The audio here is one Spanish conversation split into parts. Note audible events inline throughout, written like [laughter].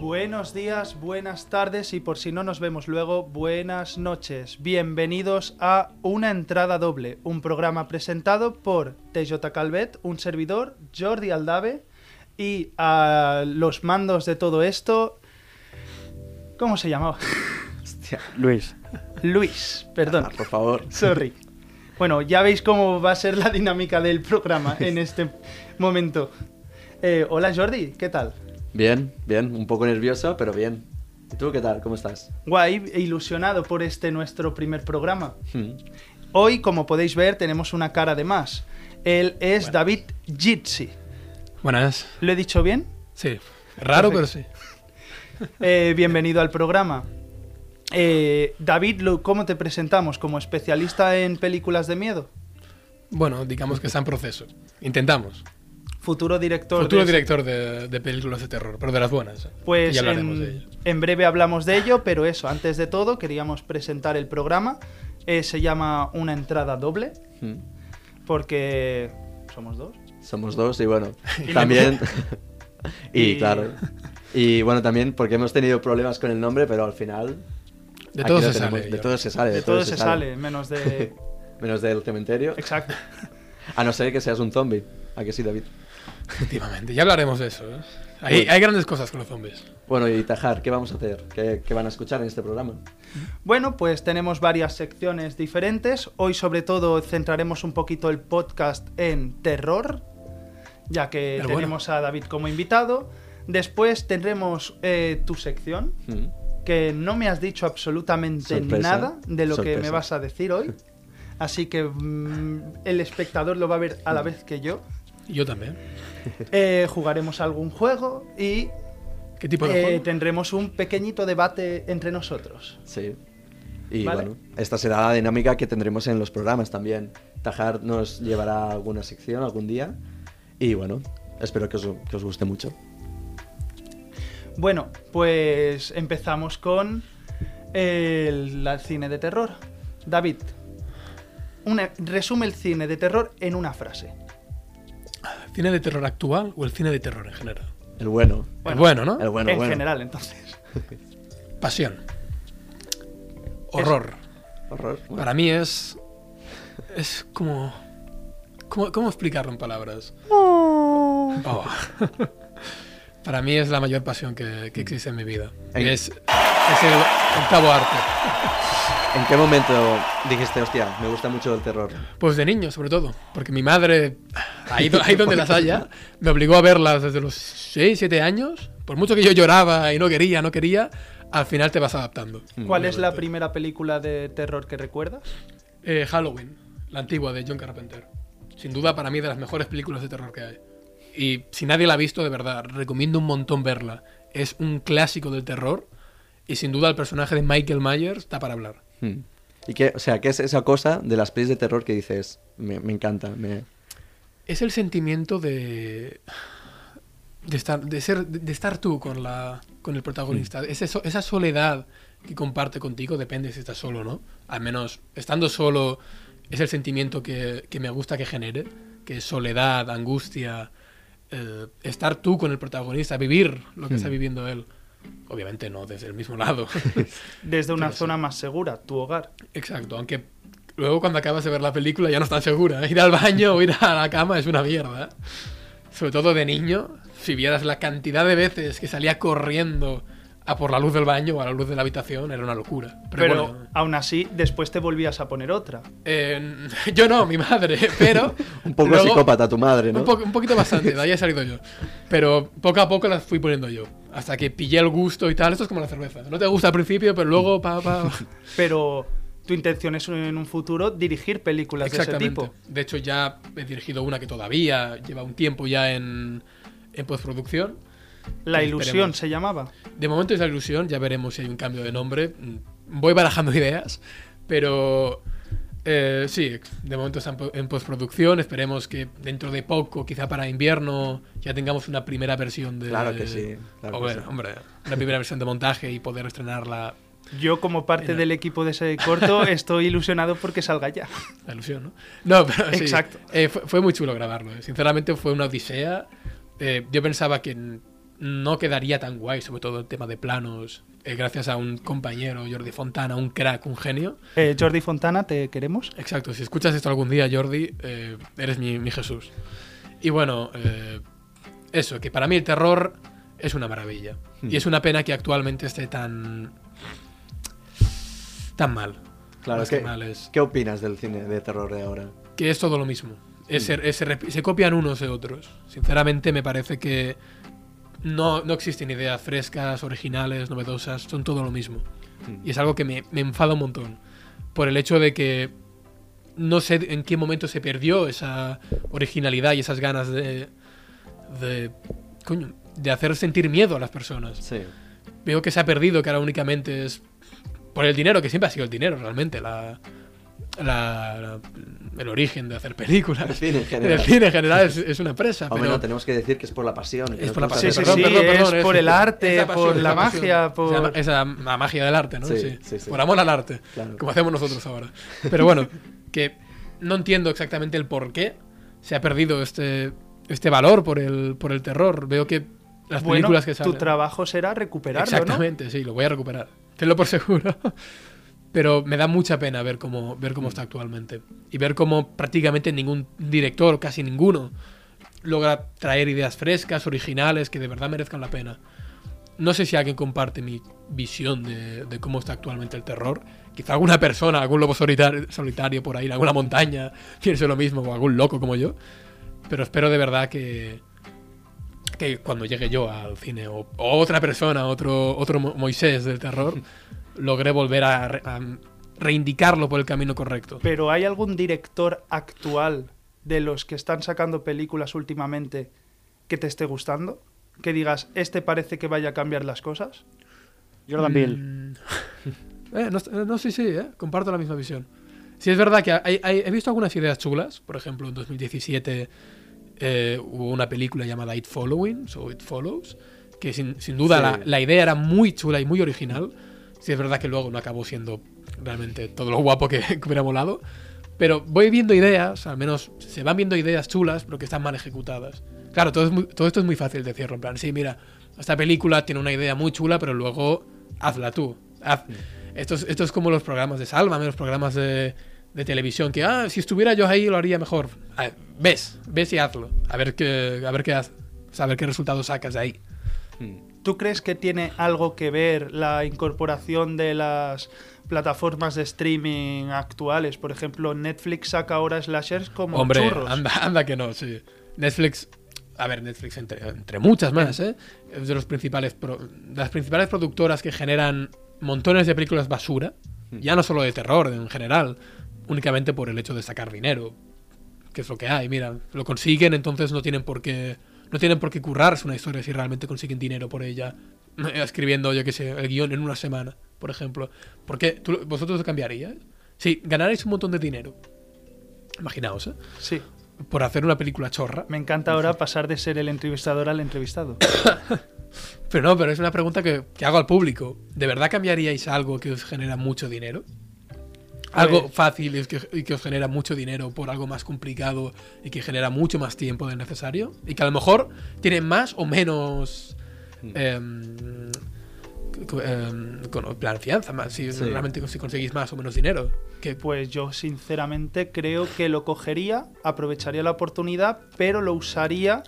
Buenos días, buenas tardes y por si no nos vemos luego, buenas noches. Bienvenidos a Una Entrada Doble, un programa presentado por TJ Calvet, un servidor, Jordi Aldave y a los mandos de todo esto... ¿Cómo se llamaba? [laughs] Hostia, Luis. Luis, perdón. [laughs] Ah, por favor. Sorry. Bueno, ya veis cómo va a ser la dinámica del programa [laughs] en este momento. Eh, hola Jordi, ¿qué tal? Bien, bien, un poco nervioso, pero bien. ¿Y tú qué tal? ¿Cómo estás? Guay, e ilusionado por este nuestro primer programa. Hmm, Hoy, como podéis ver, tenemos una cara de más. Él es David Jitsi. Buenas. ¿Lo he dicho bien? Sí. Raro, pero sí. Perfecto. Eh, bienvenido al programa. Eh, David, lo- ¿cómo te presentamos? ¿Como especialista en películas de miedo? Bueno, digamos que está en proceso. Intentamos. Futuro director. Futuro de- director de, de películas de terror, pero de las buenas. ¿eh? Pues Y hablaremos en, de ello. en breve hablamos de ello, pero eso, antes de todo queríamos presentar el programa. Eh, se llama Una entrada doble, Mm. porque somos dos. Somos dos y bueno, también... [laughs] y Y- claro. Y bueno, también porque hemos tenido problemas con el nombre, pero al final... De aquí todo lo se tenemos. sale. De yo. todo se sale. De todo se sale, menos [laughs] de... Menos del cementerio. Exacto. A no ser que seas un zombie. ¿A que sí, David? Efectivamente. Ya hablaremos de eso. ¿eh? Hay, hay grandes cosas con los zombies. Bueno, y Tajar, ¿qué vamos a hacer? ¿Qué, qué van a escuchar en este programa? Bueno, pues tenemos varias secciones diferentes. Hoy sobre todo centraremos un poquito el podcast en terror, ya que Pero Ah, bueno. tenemos a David como invitado. Después tendremos eh, tu sección, Mm. que no me has dicho absolutamente Sorpresa. nada de lo que me Sorpresa. vas a decir [laughs] hoy. Así que mm, el espectador lo va a ver a la vez que [laughs] yo. Y Yo también. Eh, jugaremos algún juego y ¿Qué tipo de eh, juego? tendremos un pequeñito debate entre nosotros. Sí. Y Vale. bueno, esta será la dinámica que tendremos en los programas también. Tajar nos llevará a alguna sección algún día. Y bueno, espero que os, que os guste mucho. Bueno, pues empezamos con el, la- el cine de terror. David, una- resume el cine de terror en una frase. ¿El cine de terror actual o el cine de terror en general? El bueno. El bueno, ¿no? El bueno, en bueno. general, entonces. Pasión. Horror. Horror. Bueno, Para mí es. Es como. ¿Cómo, cómo explicarlo en palabras? Oh. [laughs] Para mí es la mayor pasión que, que existe en mi vida. Y Ey. es, es el octavo arte. ¿En qué momento dijiste, hostia, me gusta mucho el terror? Pues de niño, sobre todo. Porque mi madre, ahí, do- ahí donde las haya, me obligó a verlas desde los 6, 7 años. Por mucho que yo lloraba y no quería, no quería, al final te vas adaptando. ¿Cuál es la primera película de terror que recuerdas? Eh, Halloween, la antigua de John Carpenter. Sin duda, para mí, de las mejores películas de terror que hay. Y si nadie la ha visto, de verdad, recomiendo un montón verla. Es un clásico del terror. Y sin duda, el personaje de Michael Myers está para hablar. Hmm. ¿Y qué, o sea, qué es esa cosa de las pelis de terror que dices, me, me encanta? me- Es el sentimiento de. de estar, de ser, de estar tú con, la, con el protagonista. Es eso- esa soledad que comparte contigo, depende si estás solo o no. Al menos estando solo es el sentimiento que, que me gusta que genere, que es soledad, angustia, eh, estar tú con el protagonista, vivir lo que está viviendo él. Obviamente no desde el mismo lado. Desde una Pero sí. zona más segura, tu hogar. Exacto, aunque luego cuando acabas de ver la película ya no estás segura. ¿eh? Ir al baño o ir a la cama es una mierda. ¿eh? Sobre todo de niño, si vieras la cantidad de veces que salía corriendo a por la luz del baño o a la luz de la habitación, era una locura. Pero, Pero, bueno, aún así, después te volvías a poner otra. eh, [laughs] yo no, mi madre, [laughs] pero... [laughs] Un poco luego- psicópata tu madre, ¿no? Un, po- un poquito bastante, de ahí he salido yo. Pero poco a poco las fui poniendo yo. Hasta que pillé el gusto y tal. Esto es como la cerveza. No te gusta al principio, pero luego... Pa, pa, [laughs] Pero tu intención es en un futuro dirigir películas de ese tipo. De hecho, ya he dirigido una que todavía lleva un tiempo ya en, en postproducción. La Pues ilusión esperemos. se llamaba. De momento es la ilusión, ya veremos si hay un cambio de nombre. Mm, Voy barajando [laughs] ideas, pero eh, sí, de momento está en po- en postproducción. Esperemos que dentro de poco, quizá para invierno, ya tengamos una primera versión de. Claro que sí, claro O que bueno, sí. hombre, una primera versión de montaje y poder estrenarla. Yo, como parte del equipo de ese corto, estoy ilusionado porque salga ya. La ilusión, ¿no? No, pero sí. Exacto. eh, fue, fue muy chulo grabarlo. eh. Sinceramente fue una odisea. Eh, yo pensaba que n- no quedaría tan guay, sobre todo el tema de planos. eh, gracias a un compañero, Jordi Fontana, un crack, un genio. Eh, Jordi Fontana, te queremos. Exacto, si escuchas esto algún día, Jordi, eh, eres mi, mi Jesús. Y bueno, eh, eso, que para mí el terror es una maravilla. Y es una pena que actualmente esté tan. tan mal. Claro, Más ¿qué, que mal es- ¿qué opinas del cine de terror de ahora? que es todo lo mismo. Es- es- se, rep- se copian unos de otros. Sinceramente me parece que no, no existen ideas frescas, originales, novedosas, son todo lo mismo. Y es algo que me, me enfada un montón. Por el hecho de que no sé en qué momento se perdió esa originalidad y esas ganas de... de coño, de hacer sentir miedo a las personas Sí. veo que se ha perdido, que ahora únicamente es por el dinero, que siempre ha sido el dinero realmente, la, la- la- el origen de hacer películas. El cine en general. [laughs] El cine en general es, es una empresa, Hombre, pero no, Ah, tenemos que decir que es por la pasión. que es nos por la gusta pasión. Sí, sí, hacer- sí, es por el arte, es la pasión, por es la pasión. magia, por- Es la, es la- la magia del arte, ¿no? Sí, Sí, sí, sí. Por amor al arte, Claro. como hacemos nosotros ahora. Pero bueno, que no entiendo exactamente el por qué se ha perdido este, este valor por el, por el terror. Veo que las Bueno, películas que salen... tu trabajo será recuperarlo, ¿no? Exactamente, sí, lo voy a recuperar. Tenlo por seguro. [laughs] Pero me da mucha pena ver cómo, ver Mm. cómo está actualmente. Y ver cómo prácticamente ningún director, casi ninguno, logra traer ideas frescas, originales, que de verdad merezcan la pena. No sé si alguien comparte mi visión de, de cómo está actualmente el terror. Quizá alguna persona, algún lobo solitario, solitario por ahí, en alguna montaña, [laughs] piense lo mismo, o algún loco como yo. Pero espero de verdad que, que cuando llegue yo al cine o, o otra persona, otro, otro Mo- Moisés del terror, logré volver a, re- a reindicarlo por el camino correcto. Pero ¿hay algún director actual de los que están sacando películas últimamente que te esté gustando? Que digas, este parece que vaya a cambiar las cosas. Jordan Mm. Peele. [laughs] Eh, no, eh, no, sí, sí, eh, comparto la misma visión. Sí, es verdad que hay- hay- he visto algunas ideas chulas. Por ejemplo, en 2017 eh, hubo una película llamada It Following, o It Follows, que sin, sin duda Sí. la, la idea era muy chula y muy original. Sí, es verdad que luego no acabó siendo realmente todo lo guapo que, [laughs] que hubiera molado. Pero voy viendo ideas, al menos se van viendo ideas chulas, pero que están mal ejecutadas. Claro, todo, es muy- todo esto es muy fácil decirlo. En plan, sí, mira, esta película tiene una idea muy chula, pero luego hazla tú. Haz- Esto, es, esto es como los programas de Sálvame, los programas de, de televisión, que ah, si estuviera yo ahí lo haría mejor. A ver, ves, ves y hazlo. A ver qué, a ver qué, haz- o sea, a ver qué resultado sacas de ahí. Hmm. ¿Tú crees que tiene algo que ver la incorporación de las plataformas de streaming actuales? Por ejemplo, Netflix saca ahora slashers como Hombre, churros. anda, [laughs] anda que no, sí. Netflix, a ver, Netflix entre, entre muchas más, ¿eh? Es de los principales pro- de las principales productoras que generan montones de películas basura, Hmm. ya no solo de terror en general, únicamente por el hecho de sacar dinero, que es lo que hay, mira, lo consiguen, entonces no tienen por qué no tienen por qué currarse una historia si realmente consiguen dinero por ella, [laughs] escribiendo, yo qué sé, el guión en una semana, por ejemplo. Porque tú- vosotros lo cambiaríais. Si ganarais un montón de dinero, imaginaos, ¿eh? Sí, por hacer una película chorra. me encanta ahora pasar de ser el entrevistador al entrevistado. Pero no, pero es una pregunta que, que hago al público. ¿De verdad cambiaríais algo que os genera mucho dinero? Algo Pues- fácil y que, y que os genera mucho dinero por algo más complicado y que genera mucho más tiempo del necesario. Y que a lo mejor tiene más o menos... em, co- em, con en plan fianza, más, si Sí. realmente si conseguís más o menos dinero. Que, Pues yo sinceramente creo que lo cogería, aprovecharía la oportunidad, pero lo usaría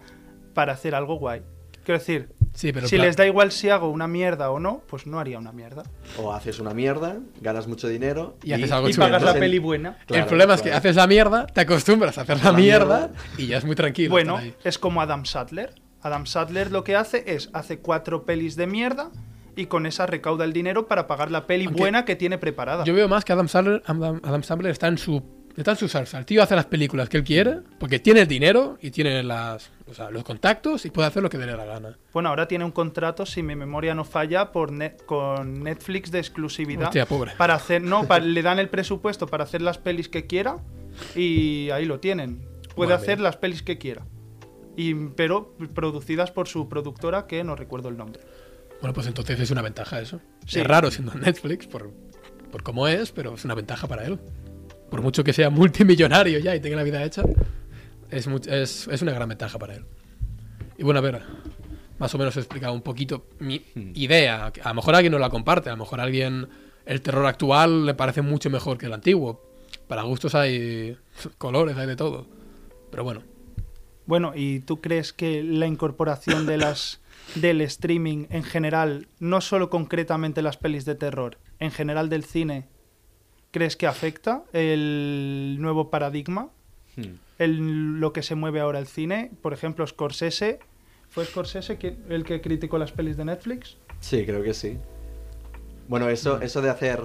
para hacer algo guay. Quiero decir, sí, pero en si plan- les da igual si hago una mierda o no, pues no haría una mierda. O haces una mierda, ganas mucho dinero Y haces algo Y chulo, pagas ¿no? la Entonces, peli buena. Claro, el problema es que claro. haces la mierda, te acostumbras a hacer La la, mierda, mierda. y ya es muy tranquilo. Bueno, estar ahí. es como Adam Sadler. Adam Sadler lo que hace es, hace cuatro pelis de mierda y con esa recauda el dinero para pagar la peli Aunque buena que tiene preparada. Yo veo más que Adam Sandler, Adam, Adam Sandler está en su de tan su salsa. El tío hace las películas que él quiere, porque tiene el dinero y tiene las, o sea, los contactos y puede hacer lo que le dé la gana. Bueno, ahora tiene un contrato, si mi memoria no falla, por ne- con Netflix de exclusividad. Hostia, pobre. Para hacer, no, pa- le dan el presupuesto para hacer las pelis que quiera y ahí lo tienen. Puede Vale. hacer las pelis que quiera. Y, pero producidas por su productora, que no recuerdo el nombre. Bueno, pues entonces es una ventaja eso. Sí. Es raro siendo Netflix por, por cómo es, pero es una ventaja para él. Por mucho que sea multimillonario ya y tenga la vida hecha, es, much- es, es una gran ventaja para él. Y bueno, a ver, más o menos he explicado un poquito mi idea. A lo mejor alguien no la comparte, a lo mejor alguien el terror actual le parece mucho mejor que el antiguo. Para gustos hay [laughs] colores, hay de todo. Pero bueno, Bueno, ¿y tú crees que la incorporación de [laughs] las del streaming en general, no solo concretamente las pelis de terror, en general del cine, crees que afecta el nuevo paradigma? Hmm. el- lo que se mueve ahora el cine. Por ejemplo, Scorsese. ¿Fue Scorsese que- el que criticó las pelis de Netflix? Sí, creo que sí. Bueno, eso, eso de hacer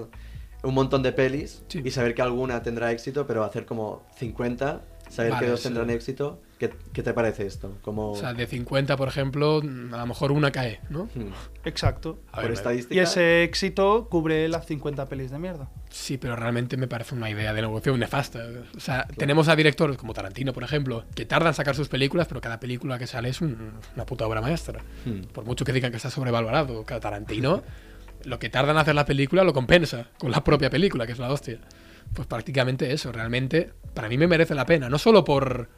un montón de pelis Hmm. Sí. y saber que alguna tendrá éxito, pero hacer como 50, saber Vale, que dos sí. tendrán éxito, ¿qué, qué te parece esto? Como, o sea, de 50, por ejemplo, a lo mejor una cae, ¿no? Hmm. Exacto. A por ver, estadística, Y ese éxito cubre las 50 pelis de mierda. Sí, pero realmente me parece una idea de negocio nefasta. O sea, tenemos a directores como Tarantino, por ejemplo, que tardan en sacar sus películas, pero cada película que sale es un- una puta obra maestra. Hmm. Por mucho que digan que está sobrevalorado, cada Tarantino, lo que tardan en hacer la película lo compensa con la propia película, que es la hostia. Pues prácticamente eso, realmente, para mí me merece la pena, no solo por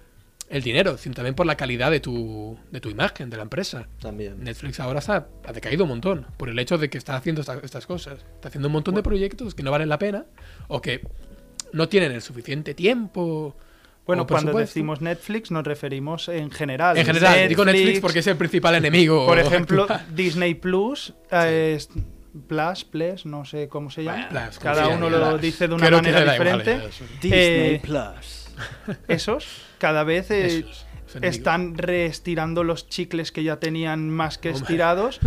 el dinero, sino también por la calidad de tu, de tu imagen, de la empresa. también. Netflix ahora se ha, ha decaído un montón por el hecho de que está haciendo esta- estas cosas. Está haciendo un montón de proyectos que no valen la pena o que no tienen el suficiente tiempo. Bueno, o cuando presupuesto. decimos Netflix nos referimos en general. Oh, En general, digo Netflix porque es el principal enemigo. Por ejemplo, [laughs] actual. Disney Plus, eh, es- Plus, Plus, no sé cómo se llama. Bueno, Plus, Cada sí, uno ya, lo ya. dice de una Creo que manera le da igual, diferente. ya, eso. Disney Eh, Plus. Esos cada vez eh, Esos, ese enemigo. están reestirando los chicles que ya tenían más que [laughs] estirados,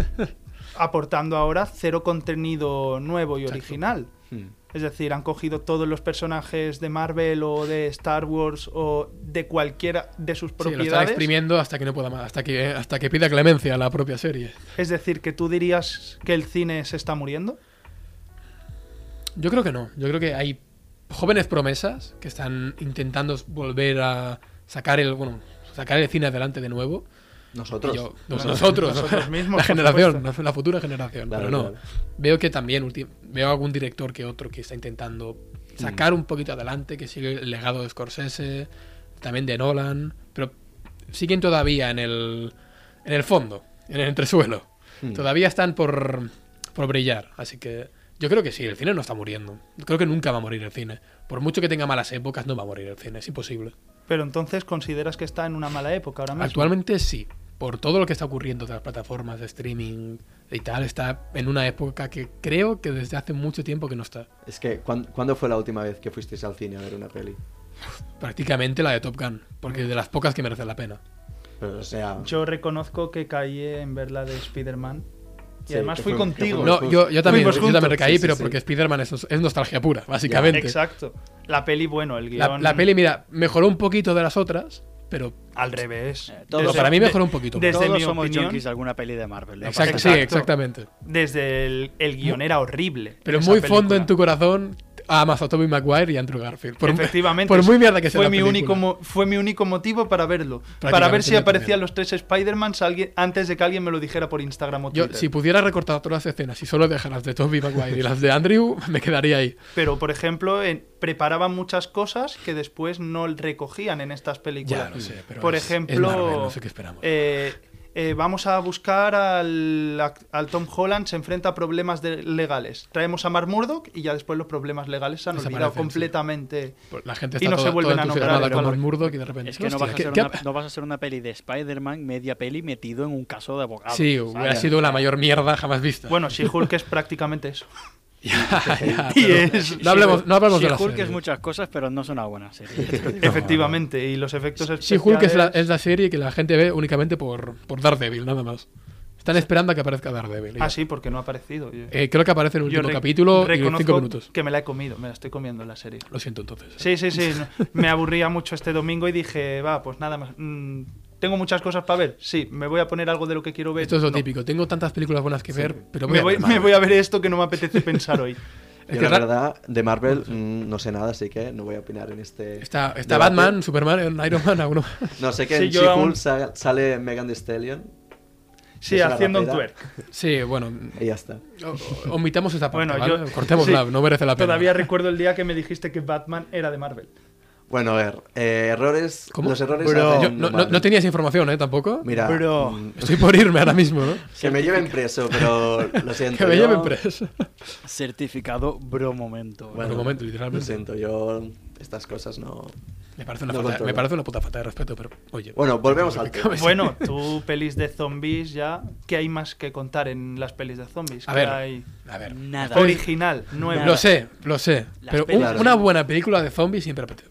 aportando ahora cero contenido nuevo y original. Hmm. Es decir, han cogido todos los personajes de Marvel o de Star Wars o de cualquiera de sus Sí, lo están propiedades. exprimiendo hasta que no pueda más, hasta que, hasta que pida clemencia a la propia serie. es decir, que tú dirías que el cine se está muriendo. Yo creo que no. Yo creo que hay jóvenes promesas que están intentando volver a sacar el, bueno, sacar el cine adelante de nuevo. Nosotros. [laughs] Yo- nos- Bueno, nosotros, nosotros mismos, la por generación, supuesto. la futura generación. Claro, pero no, claro. veo que también ulti- veo algún director que otro que está intentando Mm. sacar un poquito adelante, que sigue el legado de Scorsese, también de Nolan, pero siguen todavía en el, en el fondo, en el entresuelo. Hmm. Todavía están por, por brillar, así que yo creo que sí, el cine no está muriendo. Creo que nunca va a morir el cine. Por mucho que tenga malas épocas, no va a morir el cine, es imposible. Pero entonces consideras que está en una mala época ahora mismo. Actualmente sí. Por todo lo que está ocurriendo de las plataformas de streaming y tal, está en una época que creo que desde hace mucho tiempo que no está. Es que, ¿cuán- ¿cuándo, fue la última vez que fuisteis al cine a ver una peli? Prácticamente la de Top Gun, porque de las pocas que merecen la pena. Pero, o sea, Yo reconozco que caí en ver la de Spider-Man. Y Sí, además que fui fue- que contigo. fue- No, yo, yo también, Pues Fuimos yo juntos. también recaí, Sí, sí, pero sí. porque Spider-Man es, es nostalgia pura, básicamente. Exacto. La peli, bueno, el la, guión. la peli, mira, mejoró un poquito de las otras, pero Al revés. todo pero Desde- para mí de- mejoró un poquito. desde Eh, Todos mi somos opinión- junkies de alguna peli de Marvel. no Exacto, pasa sí, nada. exacto. exactamente. Desde el, el guión era horrible. Pero esa muy fondo película. en tu corazón amas a Tobey Maguire y Andrew Garfield. Por, Efectivamente. Por muy mierda que sea fue la mi único película. mo- Fue mi único motivo para verlo. Para Prácticamente ver si yo aparecían también. los tres Spider-Mans alguien- antes de que alguien me lo dijera por Instagram o Yo, Twitter. si pudiera recortar todas las escenas y solo dejar las de Toby Maguire y las de Andrew, [laughs] me quedaría ahí. Pero, por ejemplo, en- preparaban muchas cosas que después no recogían en estas películas. Ya, lo sé, pero por es- es ejemplo, Marvel, no sé qué esperamos. eh, eh, vamos a buscar al, ac- al Tom Holland, se enfrenta a problemas de- legales. Traemos a Mark Murdock y ya después los problemas legales se han olvidado Desaparecen, sí. completamente. Pues La gente Y está no se toda, vuelven toda a nombrar, entusiasmada pero con no- los Murdoch y de repente. Es que no hostia, vas, a ¿qué- hacer qué una, ha- no vas a hacer una peli de Spider-Man media peli metido en un caso de abogado. Sí, ¿sabes? hubiera sido la mayor mierda jamás vista. Bueno, She-Hulk es prácticamente eso. [laughs] [laughs] Ya, ya, [laughs] Y pero es- no hablemos, no hablamos de la She-Hulk serie. es muchas cosas, pero no son una [laughs] buena serie. Efectivamente, y los efectos Sí, especiales... Hulk es la, es la serie que la gente ve únicamente por, por Daredevil, nada más. Están esperando a que aparezca Daredevil. ya. Ah, sí, porque no ha aparecido. Yo, Eh, creo que aparece en el yo último re- capítulo y en reconozco 5 minutos. que me la he comido, me la estoy comiendo la serie. Lo siento entonces. Sí, sí, sí. no, me aburría mucho este domingo y dije, va, pues nada más. mm, tengo muchas cosas para ver. Sí, me voy a poner algo de lo que quiero ver. Esto es lo pues, No. típico. Tengo tantas películas buenas que ver, pero voy Me a voy, ver me Marvel. voy a ver esto que no me apetece pensar hoy. Es Yo que la ra- verdad, de Marvel mm, no sé nada, así que no voy a opinar en este. [laughs] Está, está debate. Batman, Superman, Iron Man, [laughs] alguno. No sé que Sí, en yo She-Hulk aún- sa- sale Megan Thee Stallion Sí, Es una haciendo un rapera. twerk. Sí, bueno, y ya está. o- omitamos esta parte, Bueno, ¿vale? yo- Cortémosla, sí. no merece la pena. Todavía recuerdo el día que me dijiste que Batman era de Marvel. Bueno, a ver, eh, errores. ¿Cómo? Los errores. Bro. hacen Yo- no, no, Marvel. no tenías información, ¿eh? Tampoco. Mira, Bro. mm, Estoy por irme ahora mismo, [laughs] ¿no? que me lleven preso, [laughs] pero lo siento. Que me yo- lleven preso. Certificado bro momento. Por Bueno, un momento, Lo literalmente. siento, yo. Estas cosas no. Me parece, una No falta, controlo. me parece una puta falta de respeto, pero oye. Bueno, volvemos [laughs] al tema. [laughs] Pues- Bueno, tú pelis de zombies ya, ¿qué hay más que contar en las pelis de zombies? a ¿Qué ver, hay? a ver. nada. Original, nueva. Lo sé, lo sé. Las pero un- pelis- una buena película de zombies siempre apetece.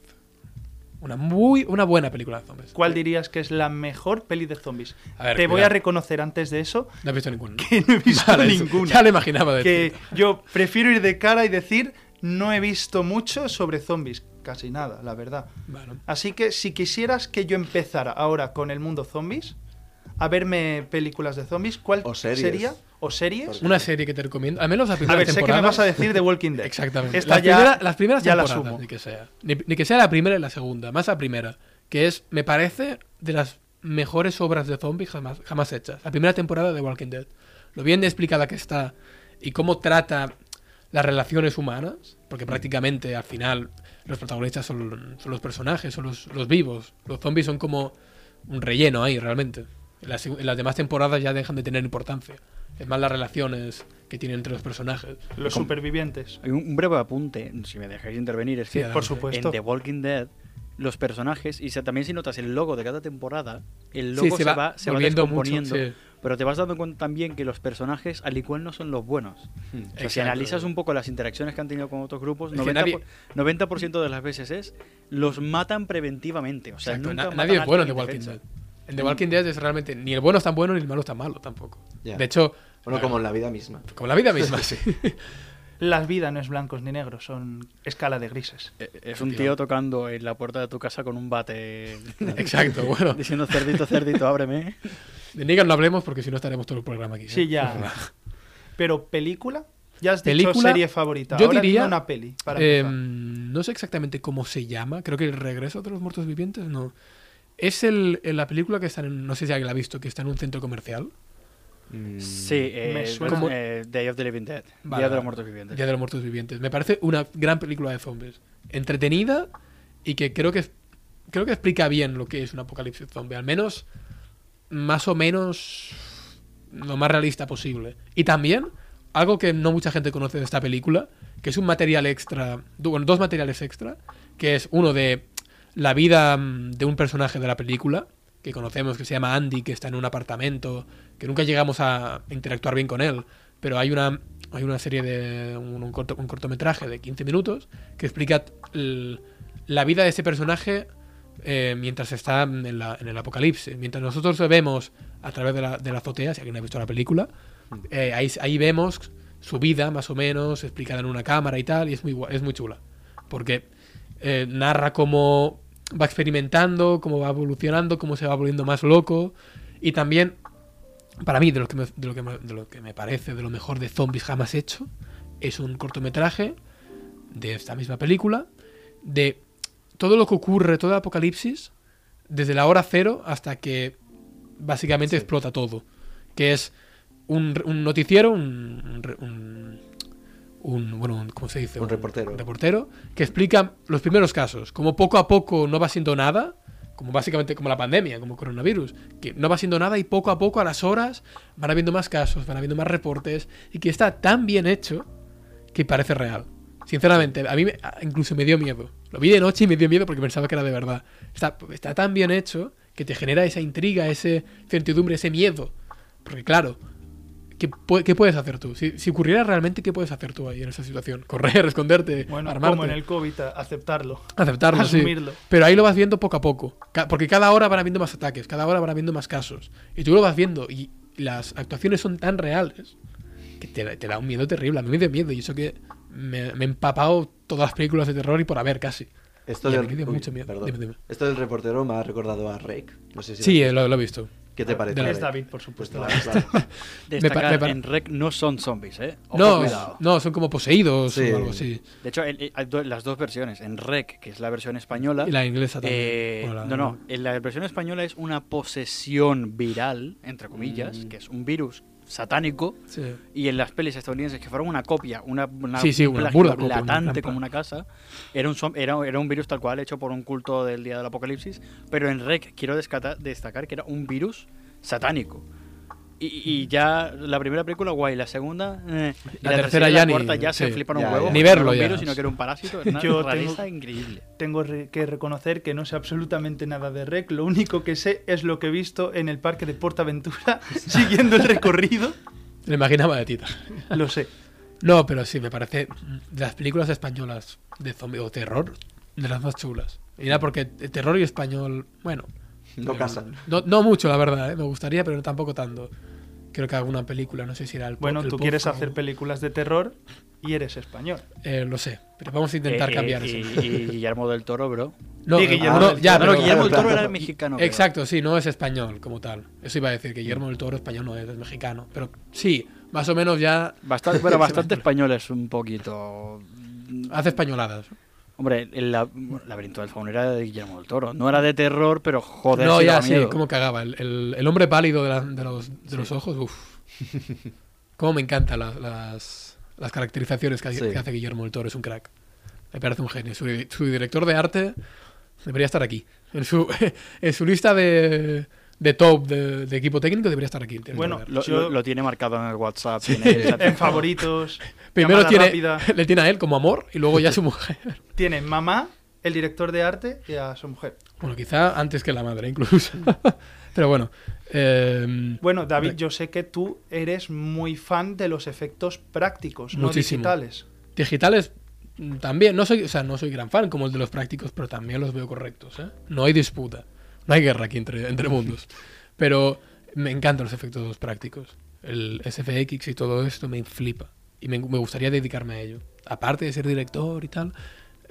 Una muy una buena película de zombies. ¿Cuál dirías que es la mejor peli de zombies? A ver, Te voy cuidado. a reconocer antes de eso No he visto ninguna. ¿no? que no he visto Vale, eso- ninguna. Ya lo imaginaba de que ti. [laughs] yo prefiero ir de cara y decir no he visto mucho sobre zombies, casi nada, la verdad. Bueno, Así que si quisieras que yo empezara ahora con el mundo zombies, a verme películas de zombies, ¿cuál O series. sería? ¿O series? una serie que te recomiendo. Al menos la A primera ver, sé que temporada. me vas a decir de Walking Dead. Exactamente. Esta las, ya, primera- las primeras ya la temporadas, sumo. ni que sea. Ni, ni que sea la primera y la segunda, más la primera. Que es, me parece, de las mejores obras de zombies jamás, jamás hechas. La primera temporada de Walking Dead. Lo bien explicada que está y cómo trata las relaciones humanas, porque Mm. prácticamente al final los protagonistas son, son los personajes, son los, los vivos. Los zombies son como un relleno ahí, realmente. En las, en las demás temporadas ya dejan de tener importancia. Es más las relaciones que tienen entre los personajes. Los supervivientes. Hay Un un breve apunte, si me dejáis intervenir, es Sí, que adelante. Por supuesto. en The Walking Dead los personajes y se- también si notas el logo de cada temporada Sí, el logo se, va, se va volviendo mucho, descomponiendo sí. pero te vas dando cuenta también que los personajes al igual no son los buenos Hmm. O sea, si Exacto. analizas un poco las interacciones que han tenido con otros Es grupos que 90%, nadie- por- 90 de las veces es los matan preventivamente o sea Exacto, nunca na- matan nadie a es bueno en The alguien Walking indefenso. Dead. En The Walking Dead es realmente ni el bueno es tan bueno ni el malo es tan malo tampoco. Ya. De hecho, Bueno, como en la vida misma. como la vida [laughs] misma, sí. Las vidas no es blancos ni negros, son escala de grises. Eh, es un tío tocando en la puerta de tu casa con un bate [laughs] Exacto, bueno. [laughs] diciendo cerdito cerdito ábreme De Negan no hablemos porque si no estaremos todo el programa aquí. ¿eh? Sí, ya. Pero película, ya has dicho Película, serie favorita. yo Ahora diría, dime una peli. Para Eh, empezar. no sé exactamente cómo se llama. Creo que El Regreso de los Muertos Vivientes, no. Es el, en la película que está en. No sé si alguien la ha visto, que está en un centro comercial. Mm, Sí, eh, Me suena. bueno, Como- eh, Day of the Living Dead. Vale, Día de vale. los Muertos Vivientes. Día de los Muertos Vivientes. Me parece una gran película de zombies. Entretenida y que creo que, creo que explica bien lo que es un apocalipsis zombie. Al menos, más o menos, lo más realista posible. Y también, algo que no mucha gente conoce de esta película, que es un material extra, du- bueno, dos materiales extra, que es uno de la vida mm, de un personaje de la película, que conocemos, que se llama Andy, que está en un apartamento, que nunca llegamos a interactuar bien con él, pero hay una, hay una serie de un, un corto- un cortometraje de 15 minutos que explica el- la vida de ese personaje eh, mientras está en, la- en el apocalipsis. Mientras nosotros lo vemos a través de la, de la azotea, si alguien ha visto la película, eh, ahí, ahí vemos su vida más o menos explicada en una cámara y tal, y es muy, gua- es muy chula. Porque eh, narra cómo va experimentando, cómo va evolucionando, cómo se va volviendo más loco. Y también, para mí, de lo que me, de lo que me- de lo que me parece de lo mejor de zombies jamás hecho, es un cortometraje de esta misma película, de todo lo que ocurre, todo el apocalipsis, desde la hora cero hasta que básicamente explota todo. Que es un, un noticiero, un, un re- un- un- bueno, un- ¿cómo se dice? Un reportero. reportero que explica los primeros casos, como poco a poco no va siendo nada, como básicamente como la pandemia, como coronavirus, que no va siendo nada y poco a poco a las horas van habiendo más casos, van habiendo más reportes y que está tan bien hecho que parece real. Sinceramente, a mí me- a- incluso me dio miedo. Lo vi de noche y me dio miedo porque pensaba que era de verdad. Está, está tan bien hecho que te genera esa intriga, esa certidumbre, ese miedo. Porque claro, ¿qué, pu- qué puedes hacer tú? Si, si ocurriera realmente, ¿qué puedes hacer tú ahí en esa situación? [laughs] Correr, esconderte, bueno, armarte. como en el COVID, a- aceptarlo. Aceptarlo, sí. Asumirlo. Pero ahí lo vas viendo poco a poco. Ca- Porque cada hora van habiendo más ataques, cada hora van habiendo más casos. Y tú lo vas viendo y las actuaciones son tan reales que te, te da un miedo terrible. A mí me dio miedo y eso que me, me he empapado todas las películas de terror y por haber casi. Esto Y a del, mí me dio uy, mucho miedo. perdón. Dime, dime. Esto del reportero me ha recordado a Rake. No sé si Sí, eh, lo, lo he visto. ¿Qué te parece? de la- Es Rake? David, por supuesto. Pues claro, [laughs] claro. Destacar, me pa- en Rec no son zombies, ¿eh? Ojo, No, cuidado. no, son como poseídos Sí. o algo así. De hecho, el- el- hay do- las dos versiones. En Rec, que es la versión española. Y la inglesa también. eh, Bueno, la- no, no. en La versión española es una posesión viral, entre comillas, Mm. que es un virus satánico. Sí. Y en las pelis estadounidenses, que fueron una copia, una, una Sí, sí, una plagio burda copia, una latante trampa. como una casa, era un, zom- era, era un virus tal cual hecho por un culto del día del apocalipsis. Pero en Rec quiero descata- destacar que era un virus satánico. Y, y ya la primera película, guay. La segunda, eh, y La la, tercera tercera y ya la ni- cuarta ya se sí. fliparon Ya, un huevo. ya. porque Ni no era verlo un ya. virus, sino que era un [laughs] parásito. Era una Yo rareza tengo- increíble. Tengo re- que reconocer que no sé absolutamente nada de Rec. Lo único que sé es lo que he visto en el parque de Portaventura [laughs] siguiendo el recorrido. Le imaginaba de Tita. Lo sé. No, pero sí, me parece de las películas españolas de zombie o terror, de las más chulas. Y era porque t- terror y español, bueno. No eh, casan. No, no mucho, la verdad, eh, me gustaría, pero tampoco tanto. Creo que alguna película, no sé si era el Bueno, el tú quieres Pozzo, hacer películas de terror y eres [laughs] español. eh, Lo sé, pero vamos a intentar Eh, eh, cambiar y, eso. y Guillermo del Toro, bro. No, y eh, Guillermo no, del ya, Toro. pero- no, Guillermo del claro, Toro claro. era mexicano. creo. Exacto, sí, no es español como tal. Eso iba a decir que Guillermo del Toro español no es, es mexicano. Pero sí, más o menos ya Bastante, [laughs] pero bastante español es un poquito. hace españoladas. Hombre, el la- laberinto del faun era de Guillermo del Toro. No era de terror, pero joder, no, sí ya daba sí, miedo. como cagaba. El, el- el hombre pálido de, la- de los, de los ojos, uff. Cómo me encantan las, las, las caracterizaciones que, Sí. que hace Guillermo del Toro, es un crack. Me parece un genio. Su, su director de arte debería estar aquí. En su, [laughs] en su lista de, de top de, de equipo técnico debería estar aquí. el director Bueno, de arte. Lo, Yo- lo- lo tiene marcado en el WhatsApp. tiene- [laughs] o sea, En favoritos. primero llamada tiene, [laughs] rápida. le tiene a él como amor y luego [laughs] ya a su mujer. Tiene mamá, el director de arte y a su mujer. Bueno, quizá antes que la madre incluso. [laughs] Pero bueno. eh, Bueno, David, yo sé que tú eres muy fan de los efectos prácticos, no Muchísimo. digitales. Digitales mm, también, no soy, o sea, no soy gran fan como el de los prácticos, pero también los veo correctos, ¿eh? No hay disputa, no hay guerra aquí entre, [laughs] entre mundos. Pero me encantan los efectos prácticos. El SFX y todo esto me flipa. Y me, me gustaría dedicarme a ello. Aparte de ser director y tal,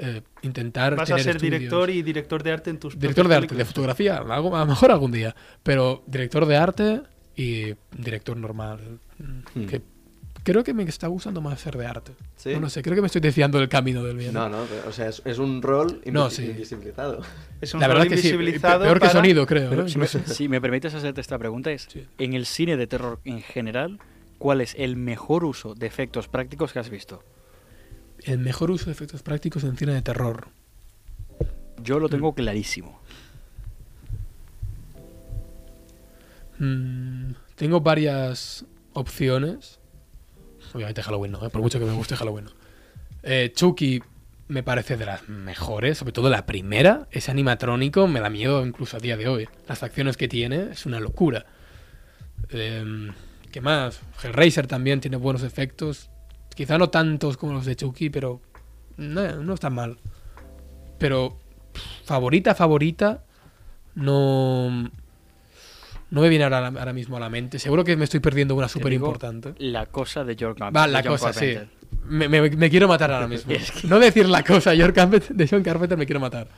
eh, intentar. Vas a tener ser estudios. director y director de arte en tus Pues, Director de propias arte, de películas. fotografía, algo, a lo mejor algún día. Pero director de arte y director normal. mm, Hmm. Que creo que me está gustando más ser de arte. ¿Sí? No lo sé, creo que me estoy desviando del camino del bien. No, no, pero, o sea, es, es un rol invi- No, sí. invisibilizado. Es un la verdad rol que sí. pe- invisibilizado Peor que para- sonido, creo. pero ¿no? si, me, Incluso. si me permites hacerte esta pregunta, es: Sí. en el cine de terror en general, ¿cuál es el mejor uso de efectos prácticos que has visto? El mejor uso de efectos prácticos en cine de terror. Yo lo tengo clarísimo. Mm, tengo varias opciones. Obviamente Halloween no, ¿eh? por mucho que me guste Halloween. no. Eh, Chucky me parece de las mejores, sobre todo la primera. Ese animatrónico me da miedo incluso a día de hoy. Las acciones que tiene es una locura. Eh, ¿Qué más? Hellraiser también tiene buenos efectos. Quizá no tantos como los de Chucky, pero no, no está mal. Pero pff, favorita, favorita, no... No me viene ahora, ahora mismo a la mente. Seguro que me estoy perdiendo una Te súper digo, importante. La cosa de George Carpenter. Va, la Ah, de John cosa, sí. Carpenter. Me, me- me quiero matar [laughs] ahora mismo. Es que- No decir la cosa, George Carpenter- de John Carpenter me quiero matar.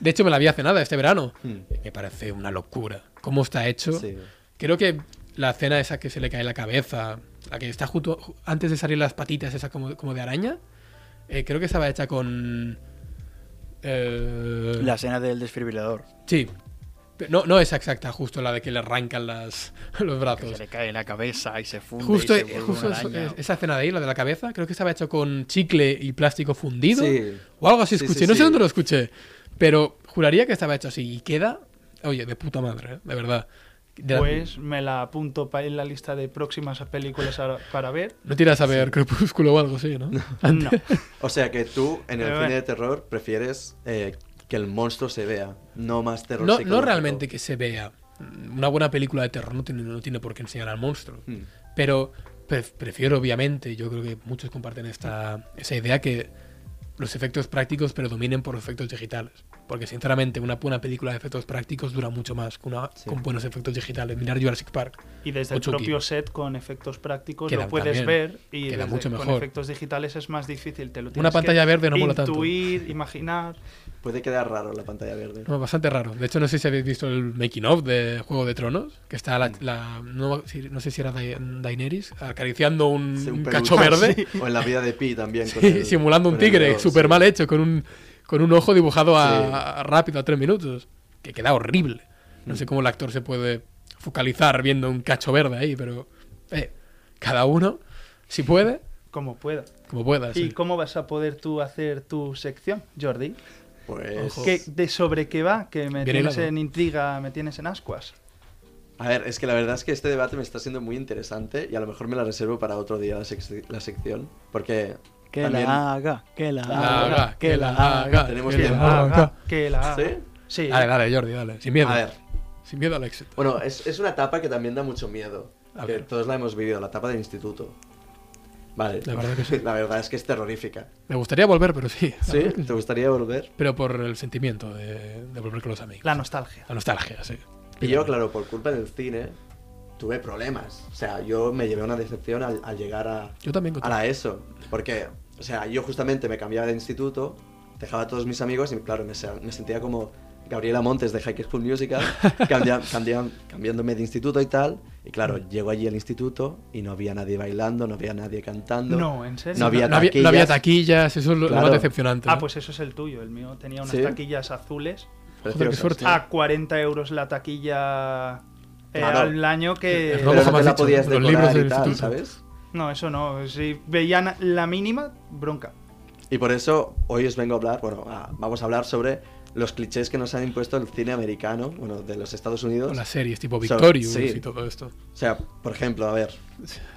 De hecho, me la vi hace nada, este verano. Hmm. Me parece una locura. ¿Cómo está hecho? Sí. Creo que la escena esa que se le cae la cabeza, la que está justo ju- antes de salir las patitas, esa como, como de araña, eh, creo que estaba hecha con... eh, La escena del desfibrilador. Sí. Pero No, no es exacta, justo la de que le arrancan las, [laughs] los Que brazos. se le cae en la cabeza y se funde. Justo, e- y se vuelve justo una eso- araña. esa escena de ahí, la de la cabeza, creo que estaba hecho con chicle y plástico fundido. Sí. O algo así Sí, escuché. sí, no sí. sé dónde lo escuché. Pero juraría que estaba hecho así. Y queda. Oye, de puta madre, ¿eh? de verdad. De la- Pues me la apunto pa- en la lista de próximas películas a- para ver. No tiras a ver Crepúsculo o algo [laughs] así, ¿no? No. O sea que tú, en Pero el cine bueno. de terror, prefieres eh, que el monstruo se vea, no más terror No, no psicológico. realmente que se vea. Una buena película de terror no tiene, no tiene por qué enseñar al monstruo. Hmm. Pero pre- prefiero, obviamente, yo creo que muchos comparten esta, esa idea que los efectos prácticos predominen por los efectos digitales. Porque sinceramente una buena película de efectos prácticos dura mucho más que una Sí. con buenos efectos digitales. Mirar Jurassic Park. Y desde el Ocho propio kilos. set con efectos prácticos Queda lo puedes también. ver y Queda desde- mucho con mejor. efectos digitales es más difícil. Te lo Una tienes pantalla que verde no mola tanto. intuir, imaginar. Puede quedar raro la pantalla verde. No, bastante raro. De hecho, no sé si habéis visto el making of de Juego de Tronos, que está Hmm. la, la- no, si- no sé si era Dai- Daenerys acariciando un, [laughs] Sí, un peluche. cacho verde, O en la vida de Pi también. con sí, el- simulando un con el tigre, dedo, súper sí. mal hecho, con un, con un ojo dibujado a, Sí. a- rápido a tres minutos, que queda horrible. No sé cómo el actor se puede focalizar viendo un cacho verde ahí, pero eh, cada uno, si puede, Como pueda. como pueda. ¿Y Ah, sí. cómo vas a poder tú hacer tu sección, Jordi? Pues. Ojo. ¿Qué- ¿De sobre qué va? Que me Bien tienes hilado. en intriga, me tienes en ascuas. A ver, es que la verdad es que este debate me está siendo muy interesante y a lo mejor me la reservo para otro día la, sec- la sección. Porque. Que también- la haga, que la La haga, haga, que la haga. Tenemos que Que bien. la la haga. haga, que Ah. la haga. ¿Sí? Sí. Dale, dale, Jordi, dale. Sin miedo. A ver. Sin miedo al éxito. Bueno, es, es una etapa que también da mucho miedo. A que ver. todos la hemos vivido, la etapa del instituto. Vale. La verdad que sí. [laughs] La verdad es que es terrorífica. Me gustaría volver, pero sí. ¿Sí? ¿Te gustaría volver? Pero por el sentimiento de, de volver con los amigos. La nostalgia. La nostalgia, sí. Y yo, claro, por culpa del cine, tuve problemas. O sea, yo me llevé una decepción al, al llegar a, Yo también a contigo. la ESO. Porque, o sea, yo justamente me cambiaba de instituto, dejaba a todos mis amigos y, claro, me, se- me sentía como Gabriela Montes de High School [laughs] Musical, cambia- cambia- cambiándome de instituto y tal. Y claro, Mm. llego allí al instituto y no había nadie bailando, no había nadie cantando. No, en serio. No había no, había, no había taquillas, eso es lo, lo Claro. más decepcionante. Ah, ¿no? pues eso es el tuyo. El mío tenía unas ¿Sí? taquillas azules. Joder, qué suerte. Ah, A 40 euros la taquilla eh, Claro. al año que... Es pero Robo, no como te has la dicho, podías los decorar libros del y tal, instituto. ¿sabes? No, eso no. Si veían la mínima, bronca. Y por eso hoy os vengo a hablar, bueno, a- vamos a hablar sobre los clichés que nos han impuesto el cine americano, bueno, de los Estados Unidos. Con las series tipo So- Victorious sí. y todo esto. O sea, por ejemplo, a ver,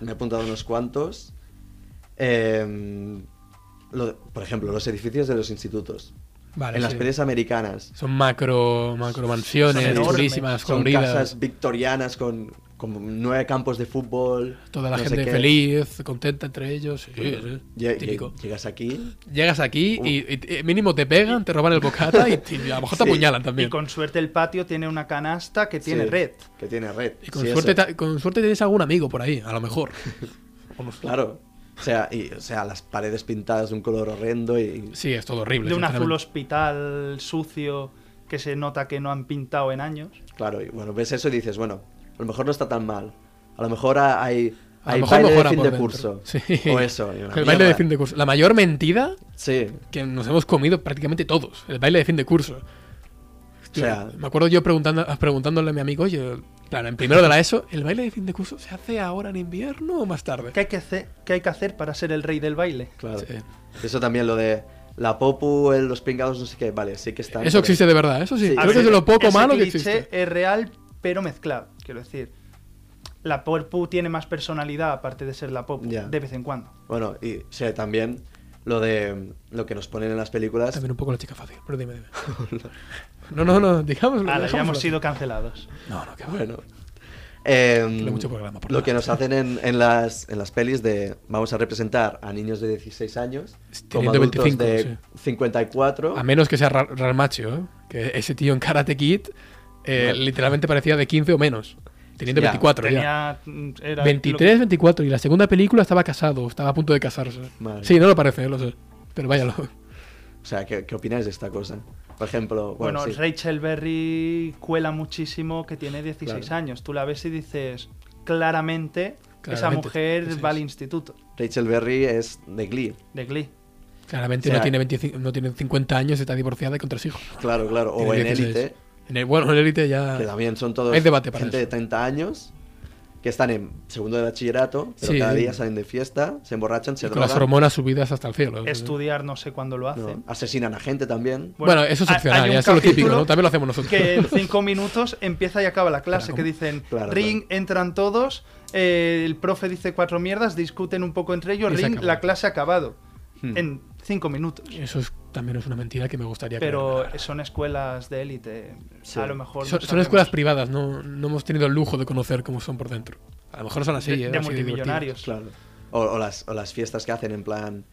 me he apuntado unos cuantos. Em, lo- por ejemplo, los edificios de los institutos. Vale, en las sí. pelis americanas. Son macro, macro mansiones, enormes, durísimas, Son coloridas. casas victorianas con, con nueve campos de fútbol. Toda la no sé gente qué. feliz, contenta entre ellos. Sí, sí, Lle- típico. lle- Llegas aquí Llegas aquí y, y- y mínimo te pegan, te roban el bocata y, te- y a lo mejor te [laughs] Sí. apuñalan Ah, también. Y con suerte el patio tiene una canasta que tiene sí, red. Que tiene red. Y con sí, suerte, eso. ta- con suerte tienes algún amigo por ahí, a [laughs] lo mejor. O no sé. Claro. O sea, y, o sea, las paredes pintadas de un color horrendo y... Sí, es todo horrible. De un azul sinceramente. hospital sucio que se nota que no han pintado en años. Claro, y bueno, ves eso y dices, bueno, a lo mejor no está tan mal. A lo mejor ha- hay, A hay lo mejor baile de mejora fin de por dentro. curso. Sí. O eso. y El una baile de mierda. fin de curso. La mayor mentira Sí. que nos hemos comido prácticamente todos. El baile de fin de curso. O sea, me acuerdo yo preguntando, preguntándole a mi amigo, yo, claro, en primero de la ESO, ¿el baile de fin de curso se hace ahora en invierno o más tarde? ¿Qué hay que hacer, qué hay que hacer para ser el rey del baile? claro. Sí. Eso también, lo de la popu, el- los pingados, no sé qué. Vale, sí que están... Eso existe de verdad, eso sí. Sí. Creo A que ver, es de lo poco ese malo que cliché existe. Es real, pero mezclado. Quiero decir, la Popu tiene más personalidad aparte de ser la Popu Ya. de vez en cuando. Bueno, y o sea, también lo de mm, lo que nos ponen en las películas. También un poco la chica fácil, pero dime, [laughs] dime. No, no, no, digamos. Ala, Ah, ya hemos sido cancelados. No, no, qué bueno. Bueno. em, Que hay mucho programa por lo delante. que nos hacen en, en las, en las pelis de vamos a representar a niños de 16 años como Teniendo adultos 25, de 54 A menos que sea Ra- Ralmacho, ¿eh? que ese tío en Karate Kid eh, Bueno. literalmente parecía de 15 o menos, teniendo Ya, 24 ya. Tenía, mm, era 23, 24. Y la segunda película estaba casado, estaba a punto de casarse. Madre. Sí, no lo parece, eh, lo sé. Pero váyalo. O sea, ¿qué, qué opináis de esta cosa? Por ejemplo, bueno, Bueno, sí, Rachel Berry cuela muchísimo que tiene 16 Claro. años. Tú la ves y dices, claramente, esa Claramente, mujer eso va al es. instituto Rachel Berry es de Glee. de Glee. Claramente O sea, no, tiene 25, no tiene 50 años, está divorciada y con tres hijos. Claro, claro. O Tiene en 16. Élite, En el, bueno, en Elite ya. que también son todos Hay debate para gente eso. de 30 años que están en segundo de bachillerato, pero Sí, cada sí. día salen de fiesta, se emborrachan, se y con las drogan, hormonas subidas hasta el cielo. Estudiar no sé cuándo lo no, hacen. asesinan a gente también. Bueno, eso es hay- opcional, hay un ya eso es lo típico, capítulo ¿no? También lo hacemos nosotros. Que [laughs] en cinco minutos empieza y acaba la clase, Claro, que ¿cómo? dicen Claro, ring, entran todos, eh, el profe dice cuatro mierdas, discuten un poco entre ellos, Y se ring, acabó. la clase ha acabado. Hmm. En cinco minutos. Eso es- también es una mentira que me gustaría creerme, la Pero verdad. son escuelas de élite. Sí. A lo mejor. no Son, son sabemos. escuelas privadas, no, no hemos tenido el lujo de conocer cómo son por dentro. A lo mejor son así, de, ¿eh? de así divertidas. multimillonarios. Claro. O, o las, o las fiestas que hacen en plan.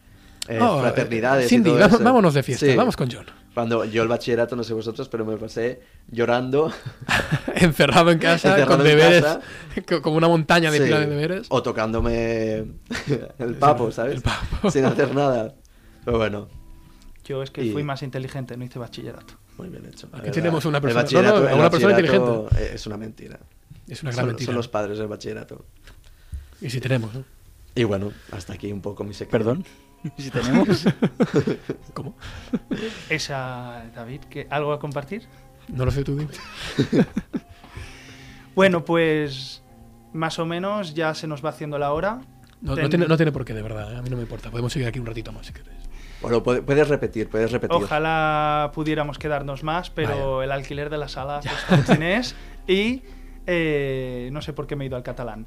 eh, Oh, fraternidades. y Cindy, todo vamos- eso. vámonos de fiesta, Sí. vamos con John. Cuando yo el bachillerato, no sé vosotros, pero me pasé [laughs] llorando. Encerrado en casa, Encerrado con en deberes, casa. [laughs] co- como una montaña de Sí. pila de deberes. O tocándome [laughs] el papo, ¿sabes? el papo. Sin hacer nada. Pero bueno, Yo es que Y- fui más inteligente, no hice bachillerato. muy bien hecho. la Aquí verdad. tenemos una El persona- no, bachillerato- no, el una persona bachillerato Es una mentira. Es una gran son, mentira. son los padres del bachillerato. Y si tenemos, ¿no? Y bueno, hasta aquí un poco mi sección. Perdón. Si tenemos. ¿Cómo? Esa, David, ¿que ¿algo a compartir? No lo sé tú, dime. Bueno, pues más o menos ya se nos va haciendo la hora. No, no Ten- tiene, no tiene por qué, de verdad. ¿eh? A mí no me importa. Podemos seguir aquí un ratito más si queréis. Bueno, puede- puedes repetir, puedes repetir. Ojalá pudiéramos quedarnos más, pero el alquiler de la sala es [laughs] chinés y eh, no sé por qué me he ido al [laughs] catalán.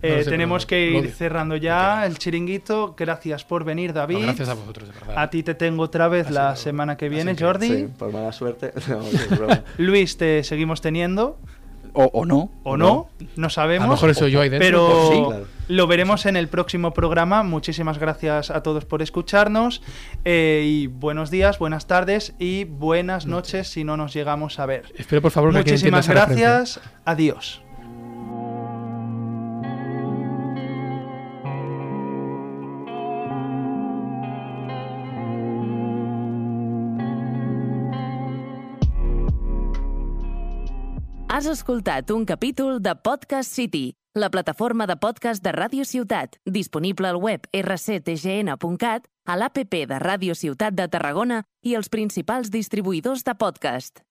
Eh, lo sé, tenemos pero que lo ir odio. cerrando No ya tiene- el chiringuito. Gracias por venir, David. No, gracias a vosotros, de verdad. A ti te tengo otra vez Ha la sido- semana que ha sido viene, increíble. Jordi. Sí, por mala suerte. [laughs] No, es broma. Luis, te seguimos teniendo O, o no. o no, no, A sabemos. lo mejor soy yo ahí dentro. Pero Sí, claro. lo veremos en el próximo programa. Muchísimas gracias a todos por escucharnos. eh, y buenos días, buenas tardes y buenas noches si no nos llegamos a ver. Espero, por favor, que alguien entienda Muchísimas esa referencia. gracias. Adiós. Has escoltat un capítol de Podcast City, la plataforma de podcast de Ràdio Ciutat, disponible al web rctgn.cat, a l'APP de Ràdio Ciutat de Tarragona i els principals distribuïdors de podcast.